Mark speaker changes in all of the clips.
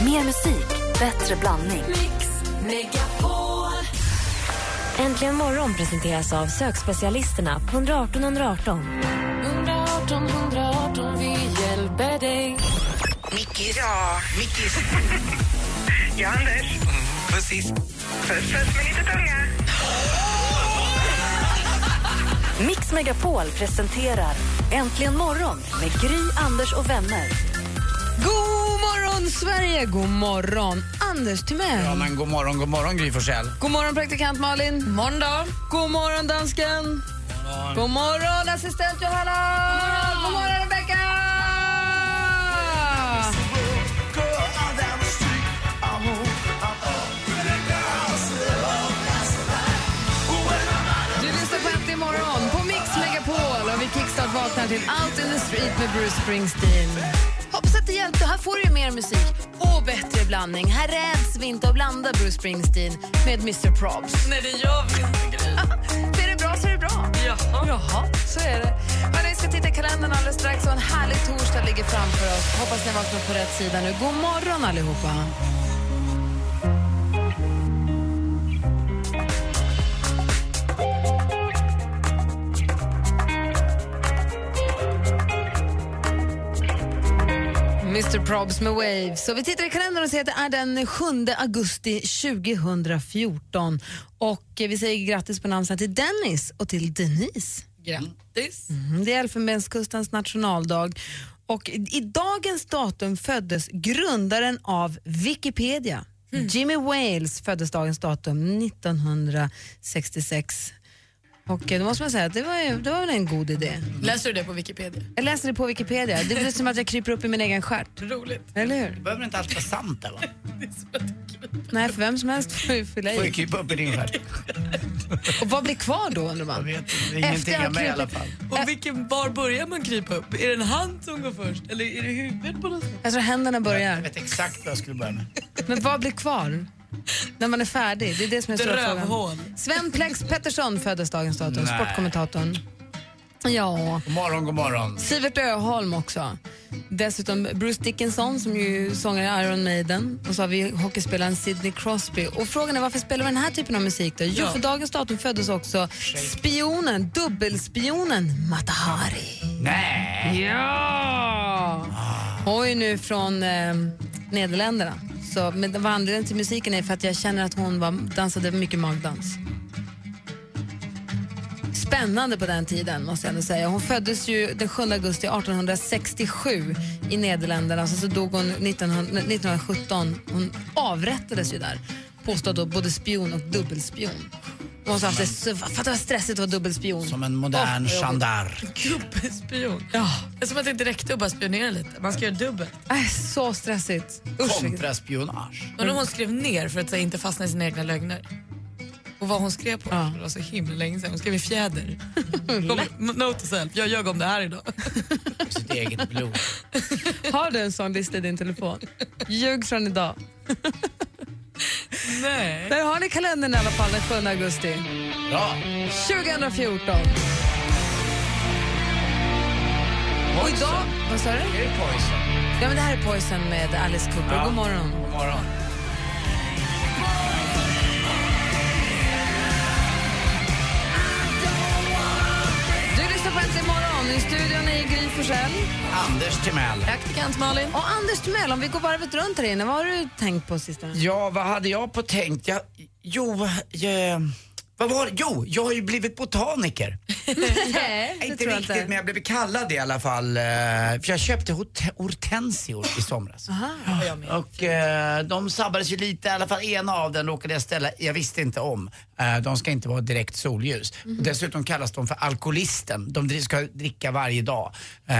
Speaker 1: Mer musik, bättre blandning.
Speaker 2: Mix Megapol.
Speaker 3: Äntligen morgon presenteras av sökspecialisterna på 118 118.
Speaker 2: 118 118, vi hjälper dig.
Speaker 4: Mickis.
Speaker 5: Ja,
Speaker 4: Mickis.
Speaker 5: ja Anders.
Speaker 6: Mm,
Speaker 4: Precis.
Speaker 5: Puss, puss med lite tunga.
Speaker 1: Mix Megapol presenterar Äntligen morgon med Gry, Anders och vänner.
Speaker 7: God morgon, Sverige! God morgon, Anders Timell!
Speaker 4: Ja, men god morgon, god morgon Gry Forssell.
Speaker 7: God morgon, praktikant Malin! Måndag. God morgon, dansken! God morgon, assistent Johanna! God morgon, God morgon Rebecka! Du lyssnar på Äntligen morgon på Mix Megapol och vi kickstart-vaknar till Out in the street med Bruce Springsteen. Hoppas att det hjälpte. Här får du ju mer musik och bättre blandning. Här räds vi inte att blanda Bruce Springsteen med Mr Probs.
Speaker 8: Nej, det gör vi inte, Gry.
Speaker 7: Är det bra så är det bra.
Speaker 8: Ja.
Speaker 7: Jaha, så är det. Hörrni, vi ska titta i kalendern alldeles strax och en härlig torsdag ligger framför oss. Hoppas ni vaknar på rätt sida nu. God morgon allihopa. Mr Probs med Waves. Så vi tittar i kalendern och ser att det är den 7 augusti 2014. Och eh, vi säger grattis på namnsdagen till Dennis och till Denise.
Speaker 8: Grattis.
Speaker 7: Mhm, Det är Elfenbenskustens nationaldag. Och i i dagens datum föddes grundaren av Wikipedia. Jimmy Wales föddes dagens datum 1966. Och eh, då måste man säga att det var, ju, det var väl en god idé.
Speaker 8: Läser du det på Wikipedia?
Speaker 7: Jag läser det på Wikipedia. Det är som att jag kryper upp i min egen stjärt.
Speaker 8: Roligt.
Speaker 7: Eller hur?
Speaker 4: Det behöver inte alltid vara sant, eller?
Speaker 7: Nej, för vem som helst får ju fylla
Speaker 4: Får ju
Speaker 7: i.
Speaker 4: krypa upp i din stjärt.
Speaker 7: Och vad blir kvar då undrar
Speaker 4: Jag
Speaker 7: man?
Speaker 4: vet inte, ingenting
Speaker 7: Efter
Speaker 4: av mig i alla
Speaker 7: krypet.
Speaker 4: fall.
Speaker 8: Och vilken, var börjar man krypa upp? Är det en hand som går först eller är det huvudet på något sätt?
Speaker 7: Jag tror händerna
Speaker 4: Jag
Speaker 7: börjar.
Speaker 4: vet exakt vad jag skulle börja med.
Speaker 7: Men vad blir kvar? När man är färdig, det är det som är stora frågan.
Speaker 8: Rövhål.
Speaker 7: Sven Plex Pettersson föddes dagens datum,
Speaker 4: Nej.
Speaker 7: sportkommentatorn. Ja.
Speaker 4: God morgon, god morgon.
Speaker 7: Sivert Öholm också. Dessutom Bruce Dickinson som ju sångar i Iron Maiden. Och så har vi hockeyspelaren Sidney Crosby. Och frågan är varför spelar vi den här typen av musik då? Jo,
Speaker 8: Ja.
Speaker 7: för dagens datum föddes också spionen, dubbelspionen Mata Hari.
Speaker 4: Nej!
Speaker 7: Ja! Hon är ju Ah! nu från eh, Nederländerna. Så, men vad anledningen till musiken är för att jag känner att hon var, dansade mycket magdans. Spännande på den tiden måste jag ändå säga. Hon föddes ju den 7 augusti 1867 i Nederländerna. Sen så dog hon 1900, 1917. Hon avrättades ju där. Påstod då både spion och dubbelspion. Och Hon sa att det så- fattar vad stressigt att vara dubbelspion.
Speaker 4: Som en modern
Speaker 7: Åh,
Speaker 4: Jeanne d'Arc.
Speaker 8: Gubbspion. Ja. Det är som att det inte räckte att bara spionera lite. Man ska göra dubbelt.
Speaker 7: Äh, så stressigt. Usch, vilket-
Speaker 4: Kontraspionage.
Speaker 8: Men om hon skrev ner för att så, här, inte fastna i sina egna lögner. Och vad hon skrev på. Det var så himla länge sedan. Hon skrev i fjäder. Kom, note to self. Jag ljög om det här idag.
Speaker 4: Sitt eget blod.
Speaker 7: Har du en sån lista i din telefon? Ljug från idag.
Speaker 8: Nej.
Speaker 7: Där har ni kalendern i alla fall den 7 augusti
Speaker 4: Bra.
Speaker 7: 2014. Och idag, vad sa du?
Speaker 4: Det är Poison.
Speaker 7: Ja, men det här är Poison med Alice Cooper.
Speaker 4: Ja.
Speaker 7: God morgon.
Speaker 4: God morgon.
Speaker 7: Du lyssnar på Äntligen morgon. I studion är Gry Forssell.
Speaker 4: Anders Timell.
Speaker 8: Praktikant Malin.
Speaker 7: Och Anders Timell, om vi går varvet runt här inne, vad har du tänkt på sistone?
Speaker 4: Ja, vad hade jag på tänkt? Jag, jo, jag, vad var det? Jo, jag har ju blivit botaniker.
Speaker 7: Nej, det
Speaker 4: inte
Speaker 7: tror jag
Speaker 4: riktigt, men
Speaker 7: inte.
Speaker 4: jag blev kallad det i alla fall. eh, För jag köpte hot- hortensior i somras.
Speaker 8: Ja, jag med.
Speaker 4: Och eh, de sabbades ju lite, i alla fall ena av den råkade jag ställa, jag visste inte om. Eh, de ska inte vara direkt solljus. Och dessutom kallas de för alkoholisten, de dri- ska dricka varje dag. Eh,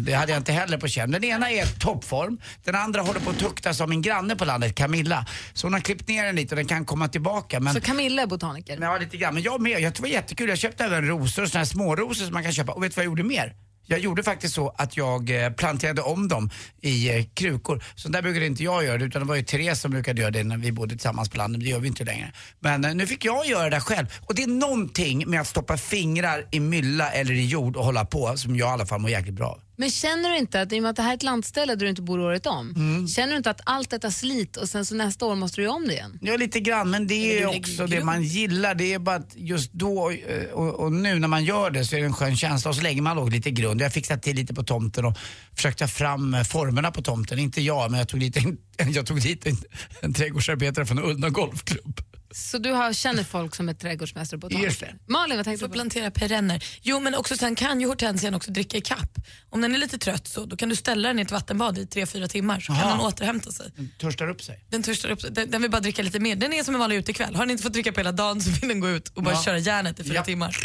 Speaker 4: det hade jag inte heller på känn. Den ena är toppform, den andra håller på att tuktas av min granne på landet, Camilla. Så hon har klippt ner den lite och den kan komma tillbaka. Men
Speaker 7: Så Camilla är botaniker.
Speaker 4: Ja, lite grann. Men jag med. Jag tror det var jättekul. Jag köpte även rosor och såna här smårosor som man kan köpa. Och vet du vad jag gjorde mer? Jag gjorde faktiskt så att jag eh, planterade om dem i eh, krukor. Så där brukade inte jag göra det, utan det var ju Therese som brukade göra det när vi bodde tillsammans på landet. Men Det gör vi inte längre. Men eh, nu fick jag göra det där själv. Och det är någonting med att stoppa fingrar i mylla eller i jord och hålla på som jag i alla fall mår jäkligt bra av.
Speaker 7: Men känner du inte att, i och med att det här är ett landställe där du inte bor året om,
Speaker 4: Mm.
Speaker 7: känner du inte att allt detta slit och sen så nästa år måste du göra om det igen?
Speaker 4: Ja, lite grann, men det är
Speaker 8: lägger
Speaker 4: också det
Speaker 8: grund.
Speaker 4: man gillar. Det är bara att just då eh, och, och nu när man gör det så är det en skön känsla och så lägger man låg lite grund. Jag fixade till lite på tomten och försökte ta fram eh, formerna på tomten. Inte jag, men jag tog dit en, jag tog dit en, en trädgårdsarbetare från Ullna Golfklubb.
Speaker 7: Så du har, känner folk som är trädgårdsmästare på
Speaker 4: Just det.
Speaker 7: tomten? Malin, vad tänkte
Speaker 8: Får
Speaker 7: du på?
Speaker 8: plantera perenner. Jo, men också sen kan ju hortensian också dricka ikapp. Om den är lite trött så då kan du ställa den i ett vattenbad i tre fyra timmar så
Speaker 4: Aha.
Speaker 8: kan den återhämta sig.
Speaker 4: Törstar upp sig.
Speaker 8: Den törstar upp sig. den, den vill bara dricka lite mer. Den är som en vanlig utekväll. Har den inte fått dricka på hela dagen så vill den gå ut och bara
Speaker 4: Ja.
Speaker 8: köra järnet i fyra
Speaker 4: Ja.
Speaker 8: timmar.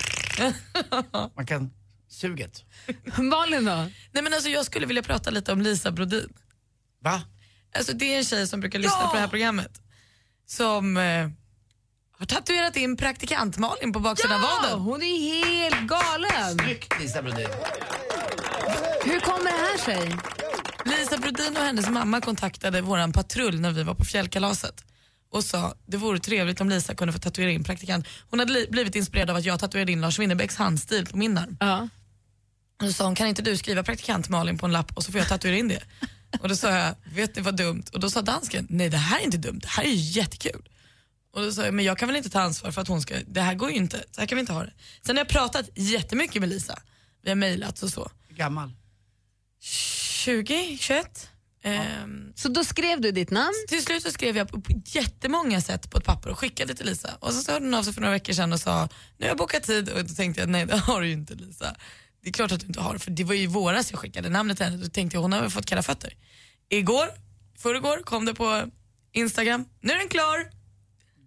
Speaker 4: Man kan... Suget.
Speaker 7: Malin då?
Speaker 8: Nej, men alltså, jag skulle vilja prata lite om Lisa Brodin.
Speaker 4: Va?
Speaker 8: Alltså, det är en tjej som brukar lyssna på det här programmet som eh, har tatuerat in praktikant Malin på baksidan av
Speaker 7: Ja,
Speaker 8: vaden.
Speaker 7: hon är helt galen!
Speaker 4: Snyggt Lisa Brodin.
Speaker 7: Hur kommer det här sig?
Speaker 8: Lisa Brodin och hennes mamma kontaktade våran patrull när vi var på fjällkalaset och sa det vore trevligt om Lisa kunde få tatuera in praktikant. Hon hade li- blivit inspirerad av att jag tatuerade in Lars Winnerbäcks handstil på min arm.
Speaker 7: Ja.
Speaker 8: Och så sa hon, kan inte du skriva praktikant Malin på en lapp och så får jag tatuera in det? Och då sa jag, vet ni vad dumt? Och då sa dansken, nej det här är inte dumt, det här är ju jättekul. Och då sa jag, men jag kan väl inte ta ansvar för att hon ska, det här går ju inte, så här kan vi inte ha det. Sen har jag pratat jättemycket med Lisa, vi har mejlat och så.
Speaker 4: Gammal.
Speaker 8: 20, 21. Ehm,
Speaker 7: Så då skrev du ditt namn?
Speaker 8: till slut så skrev jag på på jättemånga sätt på ett papper och skickade till Lisa. Och så hörde hon av sig för några veckor sedan och sa, nu har jag bokat tid och då tänkte jag, nej det har du ju inte Lisa. Det är klart att du inte har, för det var ju i våras jag skickade namnet till henne. Då tänkte jag, hon har väl fått kalla fötter. Igår, förrgår kom det på Instagram, nu är den klar.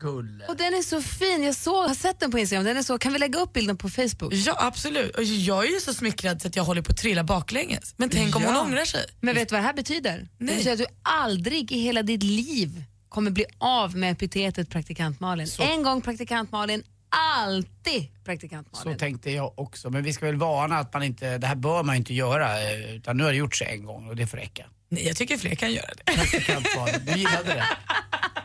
Speaker 4: Gulle.
Speaker 7: Och den är så fin, jag såg, har sett den på Instagram. Den är så, kan vi lägga upp bilden på Facebook?
Speaker 8: Ja absolut, och jag är ju så smickrad så att jag håller på att trilla baklänges. Men tänk om
Speaker 4: Ja.
Speaker 8: hon ångrar sig.
Speaker 7: Men vet du vad det här betyder? Det
Speaker 8: Nej.
Speaker 7: betyder att du aldrig i hela ditt liv kommer bli av med epitetet praktikant Malin. En gång praktikant Malin, alltid praktikant
Speaker 4: Så
Speaker 7: Malin.
Speaker 4: tänkte jag också. Men vi ska väl varna att man inte, det här bör man inte göra. eh, Utan nu har det gjort sig en gång och det får räcka.
Speaker 8: Nej jag tycker fler kan göra det.
Speaker 4: praktikantbarnen. Du gillade det.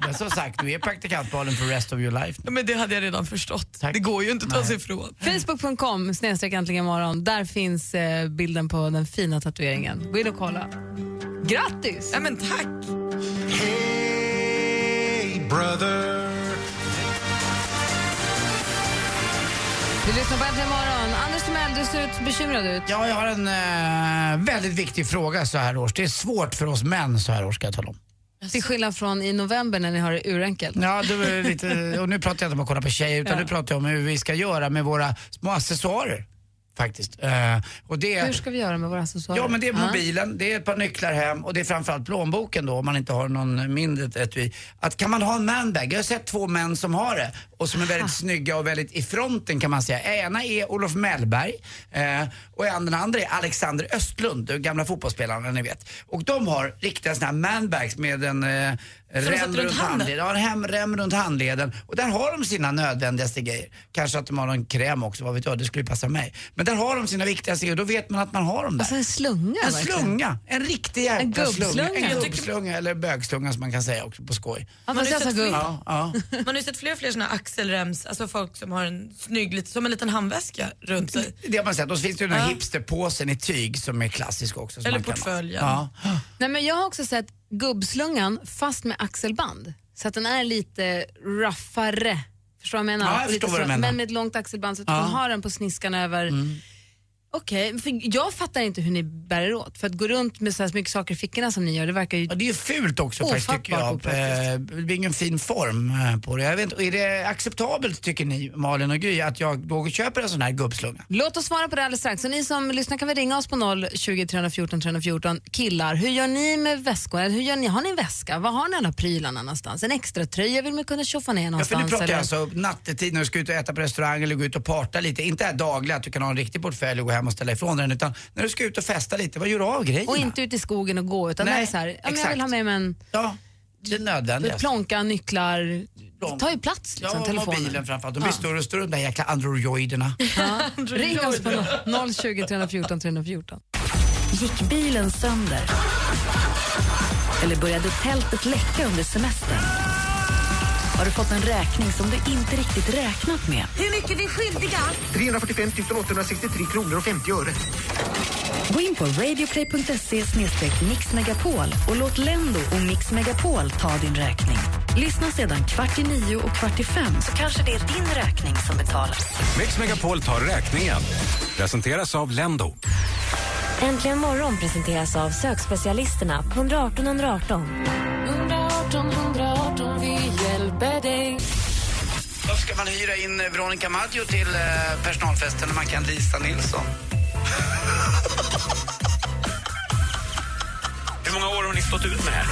Speaker 4: Men som sagt, du är praktikantbarnen for rest of your life.
Speaker 8: Men det hade jag redan förstått.
Speaker 4: Tack.
Speaker 8: Det går ju inte att ta
Speaker 4: Nej.
Speaker 8: sig ifrån.
Speaker 7: Facebook.com snedstreck äntligen morgon. Där finns eh, bilden på den fina tatueringen. Gå in och kolla. Grattis!
Speaker 8: Ja, men tack.
Speaker 7: Du lyssnar på Äntligen morgon. Anders Timell, du ser ut bekymrad ut.
Speaker 4: Ja, jag har en eh, väldigt viktig fråga så här års. Det är svårt för oss män så här års ska jag tala om.
Speaker 7: Till skillnad från i november när ni har det urenkelt.
Speaker 4: Ja, det var lite, och nu pratar jag inte om att kolla på tjejer utan nu pratar jag om hur vi ska göra med våra små accessoarer. Faktiskt. Eh, och det,
Speaker 7: Hur ska vi göra med våra accessoarer?
Speaker 4: Ja, men det är
Speaker 7: Ja.
Speaker 4: mobilen, det är ett par nycklar hem och det är framförallt plånboken då om man inte har någon mindre etui. Att kan man ha en manbag? Jag har sett två män som har det och som är väldigt snygga och väldigt i fronten kan man säga. Ena är Olof Mellberg eh, och den andra är Alexander Östlund, den gamla fotbollsspelaren ni vet. Och de har riktiga sådana här manbags med en eh,
Speaker 8: sätta
Speaker 4: rem
Speaker 8: runt
Speaker 4: runt
Speaker 8: handen?
Speaker 4: handleden. Ja, en hem, rem runt handleden. Och där har de sina nödvändigaste grejer. Kanske att de har någon kräm också, vad vet jag, det skulle ju passa mig. Men där har de sina viktigaste grejer, då vet man att man har dem där.
Speaker 7: Alltså en slunga
Speaker 4: En
Speaker 7: verkligen.
Speaker 4: slunga, en riktig
Speaker 7: En
Speaker 4: jäkla
Speaker 7: gubbslunga.
Speaker 4: slunga.
Speaker 7: Jag
Speaker 4: En
Speaker 7: tycker- Mm.
Speaker 4: gubbslunga eller bögslunga som man kan säga också på skoj.
Speaker 7: Ja,
Speaker 8: Man
Speaker 7: fast jag
Speaker 8: har ju
Speaker 7: sa
Speaker 8: sett
Speaker 7: guld.
Speaker 8: flera.
Speaker 4: Ja, ja.
Speaker 8: Man har ju sett fler och fler såna här axelrems, alltså folk som har en snygg, lite, som en liten handväska runt sig.
Speaker 4: Det har man sett. Och så finns det ju den här
Speaker 8: Ja.
Speaker 4: hipsterpåsen i tyg som är klassisk också. Som
Speaker 8: Eller
Speaker 4: man kan ha.
Speaker 8: portföljen.
Speaker 4: Ja.
Speaker 7: Nej, men jag har också sett gubbslungan fast med axelband. Så att den är lite raffare. Förstår du vad jag menar?
Speaker 4: Ja, jag
Speaker 7: Och lite
Speaker 4: förstår vad du
Speaker 7: så-
Speaker 4: menar. Mm.
Speaker 7: Men med ett långt axelband så att du kan ha den på sniskan över. Okej, för jag fattar inte hur ni bär er åt. För att gå runt med så här mycket saker i fickorna som ni gör, det verkar ju...
Speaker 4: Och det är ju fult också faktiskt tycker
Speaker 7: Ofattbart
Speaker 4: jag. Eh,
Speaker 7: opraktiskt.
Speaker 4: Det blir ingen fin form eh, på det. Jag vet, inte, är det acceptabelt tycker ni, Malin och Gry, att jag då köper en sån här gubbslunga?
Speaker 7: Låt oss svara på det alldeles strax. Så ni som lyssnar kan väl ringa oss på 020 314 314. Killar, hur gör ni med väskor? Eller Hur gör ni? Har ni en väska? Var har ni alla prylarna någonstans? En extra tröja vill man kunna tjoffa ner
Speaker 4: Ja, för
Speaker 7: någonstans?
Speaker 4: nu pratar
Speaker 7: eller?
Speaker 4: jag alltså nattetid när du ska ut och äta på restaurang eller gå ut och parta lite. Inte det här dagliga att du kan ha en riktig portfölj och gå hem och ställa ifrån den utan när du ska ut och festa lite, vad gör du av grejerna?
Speaker 7: Och inte ut i skogen och gå utan
Speaker 4: Nej,
Speaker 7: det är så här, ja, men jag
Speaker 4: exakt.
Speaker 7: vill ha med mig en
Speaker 4: Ja, det är nödvändigt.
Speaker 7: plånka, nycklar. Det tar ju plats liksom,
Speaker 4: Ja,
Speaker 7: telefonen.
Speaker 4: mobilen framförallt. De
Speaker 7: Ja.
Speaker 4: blir större och större de där jäkla androiderna.
Speaker 7: Ja. Ring oss på 020 314 314.
Speaker 1: Gick bilen sönder? Eller började tältet läcka under semestern? Har du fått en räkning som du inte riktigt räknat med?
Speaker 6: 345 863 kronor och 50 öre.
Speaker 1: Gå in på radioplay.se mixmegapol och låt Lendo och Mix Megapol ta din räkning. Lyssna sedan kvart i nio och kvart i fem så kanske det är din räkning som betalas.
Speaker 6: Mix Megapol tar räkningen. Presenteras av Lendo.
Speaker 3: Äntligen morgon presenteras av sökspecialisterna på 118 118.
Speaker 2: 118 118, vi hjälper dig.
Speaker 4: Då ska man hyra in eh, Veronica Maggio till eh, personalfesten när man kan Lisa Nilsson.
Speaker 9: Hur många år har ni stått ut med här?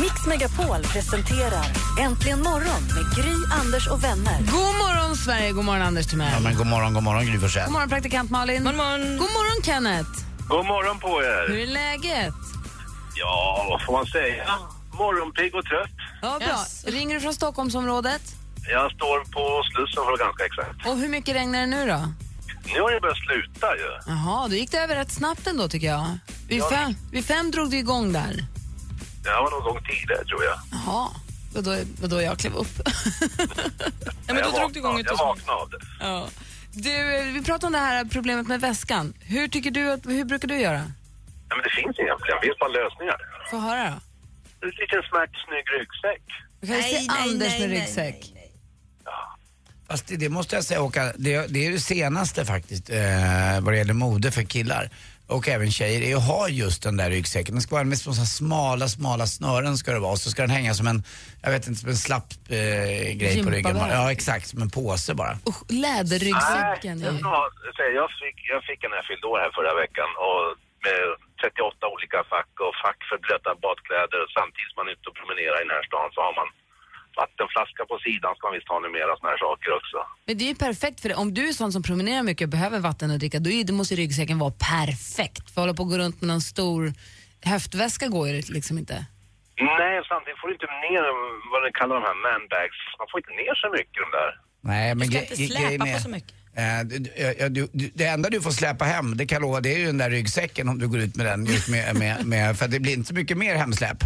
Speaker 1: Mix Megapol presenterar Äntligen morgon med Gry, Anders och vänner.
Speaker 7: God morgon, Sverige. God morgon, Anders
Speaker 4: Ja,
Speaker 7: Timell.
Speaker 4: men god morgon, god morgon Gry Forssell.
Speaker 7: God morgon, praktikant Malin. God morgon, God morgon Kenneth.
Speaker 9: God morgon på
Speaker 7: Hur
Speaker 9: er.
Speaker 7: är läget?
Speaker 9: Ja, vad får man säga? Morgonpigg och trött.
Speaker 7: Ja, bra.
Speaker 8: Yes.
Speaker 7: Ringer du från Stockholmsområdet?
Speaker 9: Jag står på Slussen för att vara ganska exakt.
Speaker 7: Och hur mycket regnar det nu då?
Speaker 9: Nu har det börjat sluta ju.
Speaker 7: Jaha, då gick det över rätt snabbt ändå tycker jag. Vid fem, vid fem drog det igång där.
Speaker 9: Det var någon gång tidigare tror jag.
Speaker 7: Jaha, vadå, vadå jag klev upp?
Speaker 8: Ja, men
Speaker 9: jag
Speaker 8: då drog du igång
Speaker 9: vaknade-
Speaker 8: ett
Speaker 9: Jag vaknade av det.
Speaker 7: ja. Du, eh, vi pratade om det här problemet med väskan. Hur tycker du att, hur brukar du göra?
Speaker 9: Nej, men det finns inga problem. Det finns bara lösningar.
Speaker 7: Få höra då.
Speaker 9: En liten smärt, snygg ryggsäck.
Speaker 7: Du kan ju se Anders med ryggsäck.
Speaker 4: Fast det, det måste jag säga Håkan, det, det är det senaste faktiskt eh, vad det gäller mode för killar och även tjejer, är att ha just den där ryggsäcken. Den ska vara med små, så här smala, smala snören ska det vara och så ska den hänga som en, jag vet inte, som en slapp eh, grej på
Speaker 7: Gympavärk.
Speaker 4: ryggen. Ja exakt, som en påse bara.
Speaker 7: Usch, läderryggsäcken.
Speaker 9: jag, ska säga, jag, fick, jag fick en när jag fyllde år här förra veckan och med 38 olika fack och fack för blöta badkläder. Samtidigt som man är ute och promenerar i den här stan så har man vattenflaska på sidan ska man visst ha numera såna här saker också.
Speaker 7: Men det är ju perfekt för det. Om du är sån som promenerar mycket och behöver vatten och dricka, då är, det måste ju ryggsäcken vara perfekt. För att hålla på och gå runt med någon stor höftväska går ju liksom inte.
Speaker 9: Nej, samtidigt får du inte ner vad de kallar de här manbags. Man får inte ner så mycket de där.
Speaker 4: Nej, men
Speaker 8: ska
Speaker 4: gre-
Speaker 8: inte
Speaker 4: gre-
Speaker 8: släpa
Speaker 4: grejen är-
Speaker 8: på så mycket.
Speaker 4: Eh, du- du- ja, du- du- Det enda du får släpa hem, det kan jag lova, det är ju den där ryggsäcken om du går ut med den. Just med, med, med, för det blir inte så mycket mer hemsläp.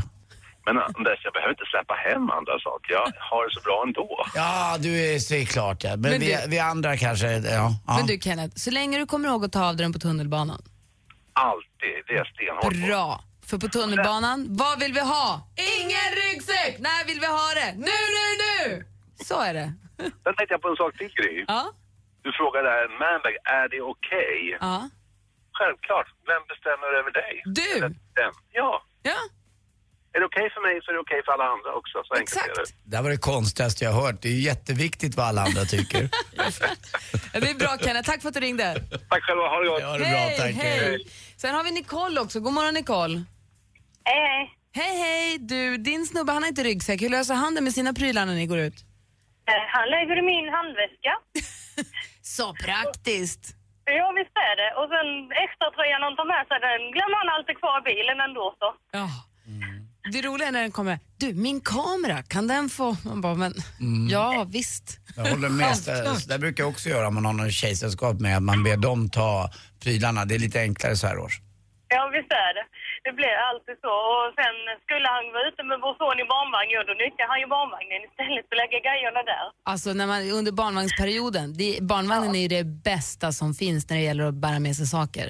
Speaker 9: Men Anders, jag behöver inte släppa hem andra saker. Jag har det så bra ändå.
Speaker 4: Ja, du är så är klart ja. Men,
Speaker 7: Men
Speaker 4: vi,
Speaker 7: du-
Speaker 4: vi andra kanske, ja. ja.
Speaker 7: Men du Kenneth, så länge du kommer ihåg att ta av dig den på tunnelbanan.
Speaker 9: Alltid. Det är jag stenhård på.
Speaker 7: Bra! För på tunnelbanan, vad vill vi ha? Ingen ryggsäck! När vill vi ha det? Nu, nu, nu! Så är det.
Speaker 9: Sen tänkte jag på en sak till Gry.
Speaker 7: Ja,
Speaker 9: Du frågade där, en manbag, är det okej?
Speaker 7: ja.
Speaker 9: Självklart. Vem bestämmer över dig?
Speaker 7: Du.
Speaker 9: Eller Vem? Ja.
Speaker 7: Ja,
Speaker 9: Är det okej för mig så är det okej för alla andra också. Så enkelt är det.
Speaker 7: exakt.
Speaker 4: Det här var det konstigaste jag hört. Det är ju jätteviktigt vad alla andra tycker.
Speaker 7: Ja, Det är bra Kenneth, tack för att du ringde.
Speaker 9: Tack själva, ha det gott.
Speaker 4: Ja, det är bra, tack.
Speaker 7: hej! Sen har vi Nicole också. God morgon Nicole.
Speaker 5: Hej, hej.
Speaker 7: Hej, hej! Du, din snubbe han har inte ryggsäck. Hur löser han det med sina prylar när ni går ut?
Speaker 5: Eh, Han lägger i min handväska.
Speaker 7: Så praktiskt!
Speaker 5: Ja, visst är det. Och sen extra tröjan han tar med sig, den glömmer han alltid kvar i bilen ändå. Så.
Speaker 7: Ja. Det roliga är när den kommer, du min kamera, kan den få... Man bara, men ja visst.
Speaker 4: Jag håller med. Så det brukar jag också göra om man har någon tjejsällskap med. Att man ber dem ta prylarna. Det är lite enklare så här års.
Speaker 5: Ja, visst är det. Det blir alltid så. Och sen skulle han vara ute med vår son i barnvagn, ja, då nyttjar han ju barnvagnen istället och lägger grejerna där.
Speaker 7: Alltså när man, under barnvagnsperioden, det, barnvagnen är ju det bästa som finns när det gäller att bära med sig saker.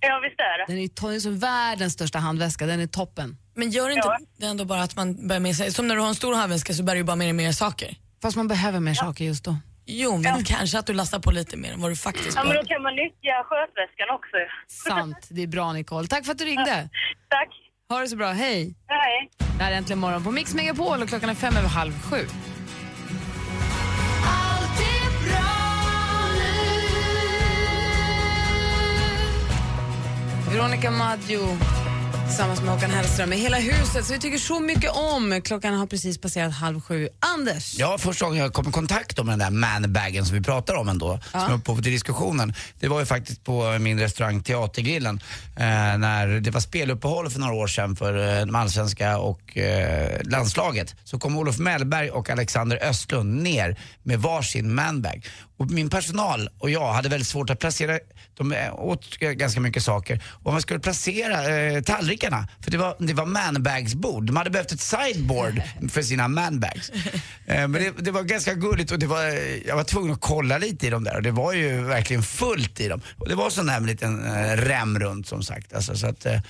Speaker 5: Ja, visst är det.
Speaker 7: Den är ju to- som världens största handväska, den är toppen.
Speaker 8: Men gör inte det ändå bara att man bär med sig, som när du har en stor handväska så bär du ju bara med dig mer saker.
Speaker 7: Fast man behöver mer saker just då.
Speaker 8: Jo, men kanske att du lastar på lite mer än vad du faktiskt
Speaker 5: Ja, men då
Speaker 8: behöver.
Speaker 5: kan man nyttja skötväskan också.
Speaker 7: Sant, det är bra Nicole. Tack för att du ringde.
Speaker 5: Tack.
Speaker 7: Ha det så bra, hej.
Speaker 5: Hej.
Speaker 7: Det här är Äntligen morgon på Mix Megapol och klockan är fem över halv sju. Veronica Maggio tillsammans med Håkan Hellström i hela huset så vi tycker så mycket om. Klockan har precis passerat halv sju. Anders,
Speaker 4: Ja, första gången jag kom i kontakt med den där manbagen som vi pratar om ändå, som är upphovet till diskussionen, det var ju faktiskt på min restaurang Teatergrillen eh, när det var speluppehåll för några år sedan för eh, de allsvenska och eh, landslaget. Så kom Olof Mellberg och Alexander Östlund ner med varsin manbag. Och min personal och jag hade väldigt svårt att placera, de eh, åt ganska mycket saker. Och man skulle placera eh, tallrikarna, för det var, det var manbagsbord. De hade behövt ett sideboard för sina manbags. Eh, men det, det var ganska gulligt och det var, eh, jag var tvungen att kolla lite i dem där och det var ju verkligen fullt i dem. Och det var sån där med en liten eh, rem runt som sagt. Alltså, så att, eh,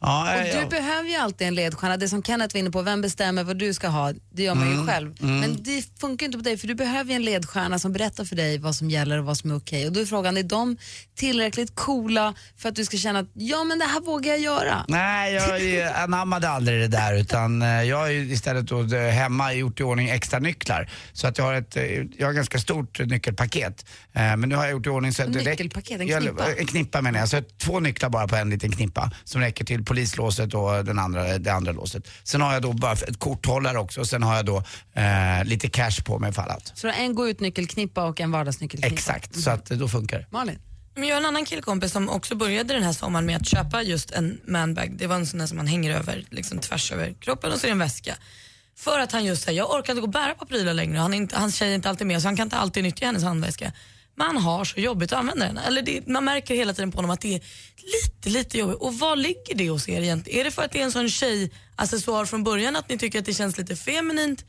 Speaker 4: ja, eh,
Speaker 7: Du
Speaker 4: ja.
Speaker 7: behöver ju alltid en ledstjärna. Det som Kenneth var inne på, vem bestämmer vad du ska ha, det gör man
Speaker 4: Mm,
Speaker 7: ju själv. Men det funkar ju inte på dig för du behöver ju en ledstjärna som berättar för dig vad som gäller och vad som är okej. Och då är frågan, är de tillräckligt coola för att du ska känna att ja men det här vågar jag göra?
Speaker 4: Nej, jag eh, anammade aldrig det där utan eh, jag har ju istället då eh, hemma gjort i ordning extra nycklar. Så att jag har ett, eh, jag har ganska stort nyckelpaket. Eh, Men nu har jag gjort i ordning så att det räcker-
Speaker 7: Nyckelpaket, en
Speaker 4: Jag-
Speaker 7: knippa.
Speaker 4: En knippa menar jag. Så jag har två nycklar bara på en liten knippa som räcker till polislåset och den andra, eh, det andra låset. Sen har jag då bara ett korthållare också och sen har jag då eh, lite cash på mig för allt.
Speaker 7: Så en gå ut nyckelknippa och en vardagsnyckelknippa.
Speaker 4: Exakt, så att eh, då funkar det.
Speaker 7: Malin?
Speaker 8: Men jag har en annan killkompis som också började den här sommaren med att köpa just en manbag. Det var en sån där som man hänger över, liksom tvärs över kroppen och så är det en väska. För att han just säger, jag orkar inte gå och bära på prylar längre. Han är inte, hans tjej är inte alltid med så han kan inte alltid nyttja hennes handväska. Man har så jobbigt att använda den. Eller det, man märker hela tiden på honom att det är lite, lite jobbigt. Och vad ligger det hos er egentligen? Är det för att det är en sån tjejaccessoar från början att ni tycker att det känns lite feminint?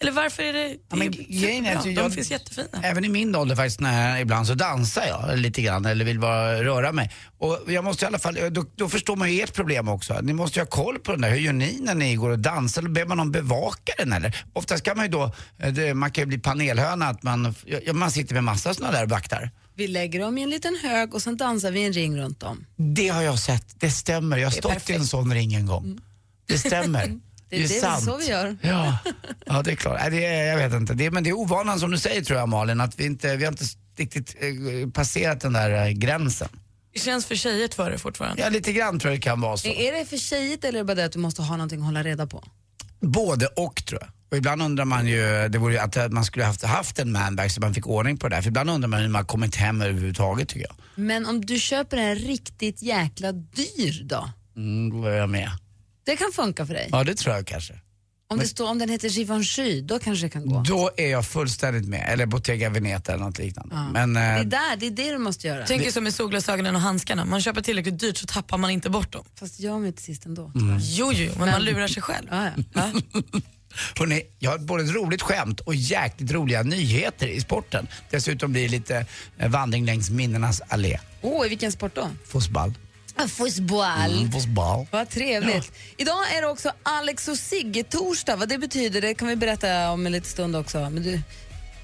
Speaker 8: Eller varför är det... det
Speaker 4: Ja, men
Speaker 8: är
Speaker 4: grejen är
Speaker 8: superbra.
Speaker 4: att
Speaker 8: De
Speaker 4: jag-
Speaker 8: finns jättefina.
Speaker 4: Även i min ålder faktiskt, när jag, ibland så dansar jag lite grann eller vill bara röra mig. Och jag måste i alla fall, då, då förstår man ju ert problem också. Ni måste ju ha koll på den där. Hur gör ni när ni går och dansar? Eller ber man någon bevaka den eller? Oftast kan man ju då, eh, det, man kan ju bli panelhöna att man, ja, man sitter med massa sådana där vaktar.
Speaker 7: Vi lägger dem i en liten hög och sen dansar vi en ring runt dem.
Speaker 4: Det har jag sett, det stämmer. Jag har stått i en sån ring en gång. Det stämmer.
Speaker 7: Mm. Det är det- så vi gör.
Speaker 4: Ja, ja det är klart. Nej, det är, jag vet inte. Det är, men det är ovanan som du säger tror jag Malin, att vi inte, vi har inte riktigt eh, passerat den där eh, gränsen.
Speaker 8: Det känns för tjejigt för det fortfarande.
Speaker 4: Ja, lite grann tror jag det kan vara så.
Speaker 7: Är det för tjejigt eller är det bara det att du måste ha någonting att hålla reda på?
Speaker 4: Både och tror jag. Och ibland undrar man ju, det vore ju att eh, man skulle haft, haft en manbag så man fick ordning på det där. För ibland undrar man hur man kommit hem överhuvudtaget tycker jag.
Speaker 7: Men om du köper en riktigt jäkla dyr då?
Speaker 4: Mm, då är jag med.
Speaker 7: Det kan funka för dig.
Speaker 4: Ja, det tror jag kanske.
Speaker 7: Om, det står, om den heter Givenchy, då kanske det kan gå.
Speaker 4: Då är jag fullständigt med. Eller Bottega Veneta eller något liknande. Men, eh,
Speaker 7: Det är, där, det är det du måste göra.
Speaker 8: Tänk er som med solglasögonen och handskarna. Man köper tillräckligt dyrt så tappar man inte bort dem.
Speaker 7: Fast jag mig till sist ändå.
Speaker 8: Jo, jo, men man lurar sig själv.
Speaker 7: Ja, ja.
Speaker 4: Hörrni, jag har både ett roligt skämt och jäkligt roliga nyheter i sporten. Dessutom blir det lite eh, vandring längs minnenas allé.
Speaker 7: Åh, i vilken sport då?
Speaker 4: Fotboll.
Speaker 7: Fotboll.
Speaker 4: Mm, fotboll.
Speaker 7: Vad trevligt. Idag är det också Alex och Sigge-torsdag. Vad det betyder det kan vi berätta om en liten stund också. Men du,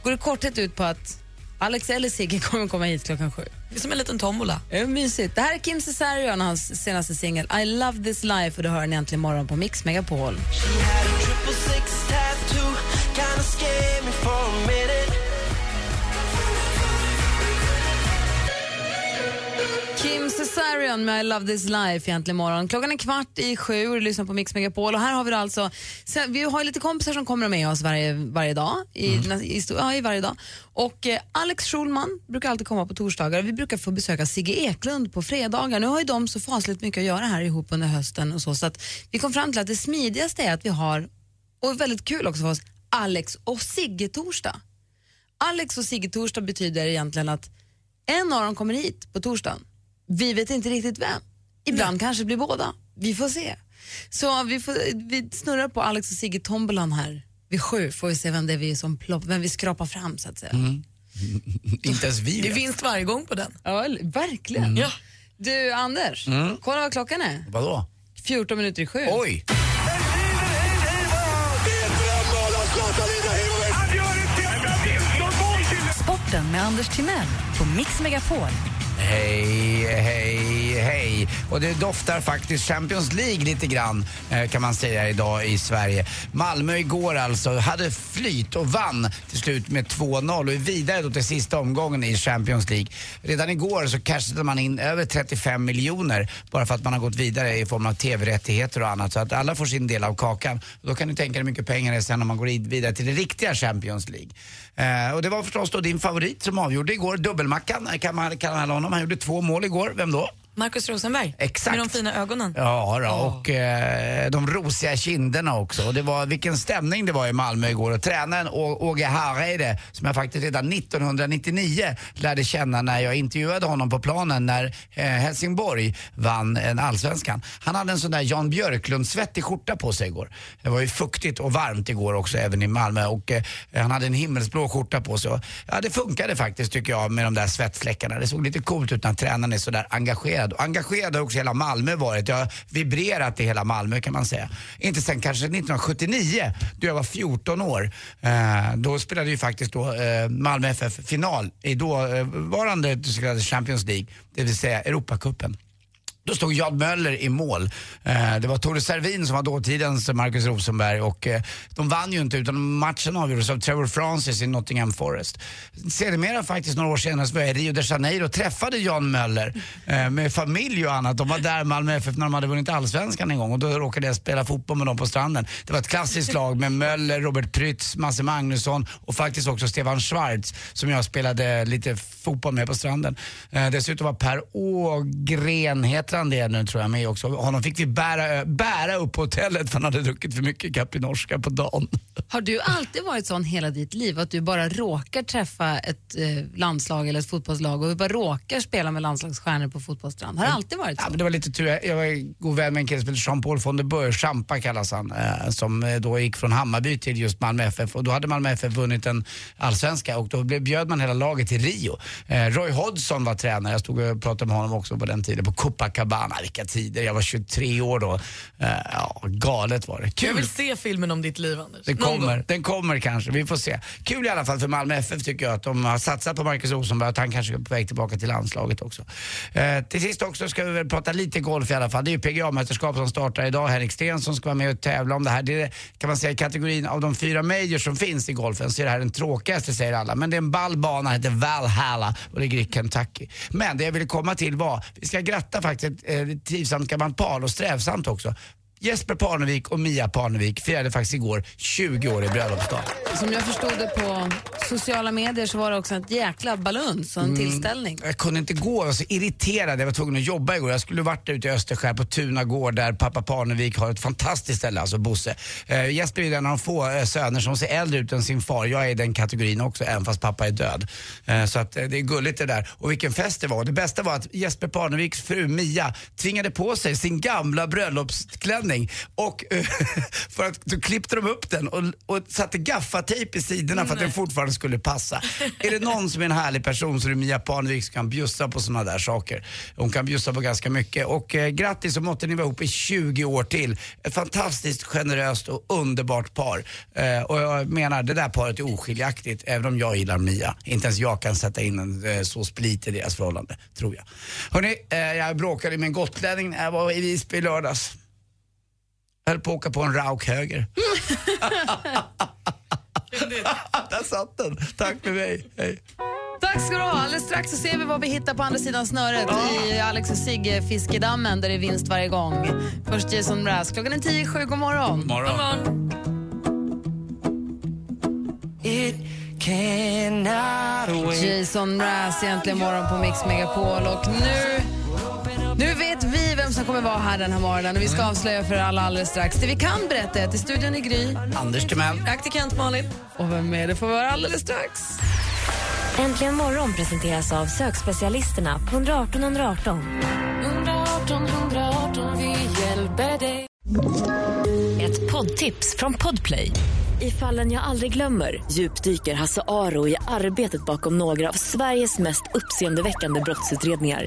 Speaker 7: går i korthet ut på att Alex eller Sigge kommer komma hit klockan sju.
Speaker 8: Det är som en liten tombola.
Speaker 7: Det är mysigt. Det här är Kim Cesarion och hans senaste singel I love this life och det hör ni äntligen imorgon på Mix Megapol. Kim Cesarion med I love this life egentligen imorgon. Klockan är kvart i sju och du lyssnar på Mix Megapol. Och här har vi då alltså, sen- vi har ju lite kompisar som kommer med oss varje, varje dag. I, nä- i, sto- ja, i varje dag. Och eh, Alex Schulman brukar alltid komma på torsdagar och vi brukar få besöka Sigge Eklund på fredagar. Nu har ju de så fasligt mycket att göra här ihop under hösten och så. Så att vi kom fram till att det smidigaste är att vi har, och väldigt kul också för oss, Alex och Sigge-torsdag. Alex och Sigge torsdag betyder egentligen att en av dem kommer hit på torsdagen. Vi vet inte riktigt vem. Ibland kanske det blir båda. Vi får se. Så vi, får, vi snurrar på Alex och Sigge tombolan här vid sju får vi se vem det är vi som plopp, vem vi skrapar fram så att säga.
Speaker 4: Inte ens vi
Speaker 8: Det är
Speaker 4: vet.
Speaker 8: vinst varje gång på den.
Speaker 7: Ja, eller- verkligen.
Speaker 8: Ja.
Speaker 7: Du Anders, kolla vad klockan är.
Speaker 4: Vadå?
Speaker 7: 14 minuter i sju.
Speaker 4: Oj!
Speaker 1: Sporten med Anders Timell på Mix Megapol.
Speaker 4: Hej, hej, hej. Och det doftar faktiskt Champions League lite grann eh, kan man säga idag i Sverige. Malmö igår alltså hade flyt och vann till slut med 2-0 och är vidare då till sista omgången i Champions League. Redan igår så cashade man in över 35 miljoner bara för att man har gått vidare i form av tv-rättigheter och annat så att alla får sin del av kakan. Då kan du tänka dig hur mycket pengar det är sen när man går id- vidare till det riktiga Champions League. Eh, och det var förstås då din favorit som avgjorde igår, dubbelmackan eh, kan man kalla honom. Han gjorde två mål igår, vem då?
Speaker 8: Markus Rosenberg.
Speaker 4: Exakt.
Speaker 8: Med de fina ögonen.
Speaker 4: Ja, då, och eh, de rosiga kinderna också. Och det var, vilken stämning det var i Malmö igår. Och tränaren Å- Åge Hareide, som jag faktiskt redan 1999 lärde känna när jag intervjuade honom på planen när eh, Helsingborg vann en allsvenskan. Han hade en sån där Jan Björklund-svettig skjorta på sig igår. Det var ju fuktigt och varmt igår också, även i Malmö. Och eh, han hade en himmelsblå skjorta på sig. Och, ja, det funkade faktiskt tycker jag med de där svettfläckarna. Det såg lite coolt ut när tränaren är sådär engagerad. Och engagerad har också hela Malmö varit. Jag har vibrerat i hela Malmö kan man säga. Inte sen kanske 1979, då jag var 14 år. Eh, då spelade ju faktiskt då, eh, Malmö FF final i dåvarande så kallade Champions League, det vill säga Europacupen. Då stod Jad Möller i mål. Eh, Det var Tore Servin som var dåtidens Marcus Rosenberg och eh, de vann ju inte utan matchen avgjordes av Trevor Francis i Nottingham Forest. Sedermera faktiskt några år senare så var jag i Rio de Janeiro och träffade Jan Möller eh, med familj och annat. De var där Malmö FF när de hade vunnit allsvenskan en gång och då råkade jag spela fotboll med dem på stranden. Det var ett klassiskt lag med Möller, Robert Prytz, Masse Magnusson och faktiskt också Stefan Schwarz som jag spelade lite fotboll med på stranden. Eh, dessutom var Per Ågren, heter han det nu tror jag, med också. Honom fick vi bära, bära upp på hotellet för han hade druckit för mycket Caprinorska på dagen.
Speaker 7: Har du alltid varit sån hela ditt liv att du bara råkar träffa ett eh, landslag eller ett fotbollslag och bara råkar spela med landslagsstjärnor på fotbollsstrand? Har det alltid varit så?
Speaker 4: Ja, men det var lite tur. Jag jag var god vän med en kille som hette Jean-Paul von der Beur, Champa kallas han, eh, som eh, då gick från Hammarby till just Malmö FF och då hade Malmö FF vunnit en allsvenska och då blev, bjöd man hela laget till Rio. Eh, Roy Hodgson var tränare, jag stod och pratade med honom också på den tiden, på Copacabana, vilka tider, jag var 23 år då. Eh, ja, galet var det.
Speaker 8: Jag
Speaker 4: Kul!
Speaker 8: vill se filmen om ditt liv, Anders.
Speaker 4: Den
Speaker 8: Någon gång.
Speaker 4: kommer, den kommer kanske, vi får se. Kul i alla fall för Malmö FF tycker jag att de har satsat på Marcus Rosenberg och att han kanske är på väg tillbaka till landslaget också. Eh, till sist också ska vi väl prata lite golf i alla fall. Det är ju PGA-mästerskap som startar idag. Henrik Stenson ska vara med och tävla om det här. Det är, kan man säga kategorin av de fyra majors som finns i golfen så är det här den tråkigaste säger alla. Men det är en ball bana, heter Valhalla och ligger i Kentucky. Men det jag ville komma till var, vi ska gratta faktiskt ett eh, trivsamt gammalt par och strävsamt också. Jesper Parnevik och Mia Parnevik firade faktiskt igår 20 år i bröllopsdag.
Speaker 7: Som jag förstod det på sociala medier så var det också ett jäkla baluns och en tillställning.
Speaker 4: Jag kunde inte gå, jag var så irriterad. Jag var tvungen att jobba igår. Jag skulle varit ute i Österskär på Tuna gård där pappa Parnevik har ett fantastiskt ställe, alltså Bosse. Eh, Jesper är ju en av de få eh, söner som ser äldre ut än sin far. Jag är i den kategorin också, även fast pappa är död. Eh, så att eh, det är gulligt det där. Och vilken fest det var. Det bästa var att Jesper Parneviks fru Mia tvingade på sig sin gamla bröllopsklänning och eh, för att då klippte de upp den och, och satte gaffatejp i sidorna för att den fortfarande skulle passa. är det någon som är en härlig person så är det Mia Parnevik som kan bjussa på sådana där saker. Hon kan bjussa på ganska mycket. Och eh, grattis och måtte ni vara ihop i 20 år till. Ett fantastiskt generöst och underbart par. Eh, och jag menar, det där paret är oskiljaktigt även om jag gillar Mia. Inte ens jag kan sätta in en eh, så split i deras förhållande, tror jag. Hörni, eh, jag bråkade med en gotlänning när jag var i Visby i lördags. Höll på att åka på en rauk höger. Där satt den. Tack för mig. Hej.
Speaker 7: Tack ska du ha. Alldeles strax så ser vi vad vi hittar på andra sidan snöret i Alex och Sigge fiskedammen där det är vinst varje gång. Först Jason Mraz. Klockan är tio i sju. God morgon.
Speaker 4: Morgon.
Speaker 7: Jason Mraz egentligen morgon på Mix Megapol och nu nu vet vi vem som kommer vara här den här morgonen och vi ska avslöja för alla alldeles strax. Det vi kan berätta är att i studion är Gry
Speaker 4: Anders Timell.
Speaker 8: Praktikant Malin.
Speaker 7: och vem är det får vara alldeles strax.
Speaker 3: Äntligen morgon presenteras av sökspecialisterna på 118 118.
Speaker 2: 118 118, vi hjälper dig.
Speaker 10: Ett poddtips från Podplay. I fallen jag aldrig glömmer djupdyker Hasse Aro i arbetet bakom några av Sveriges mest uppseendeväckande brottsutredningar.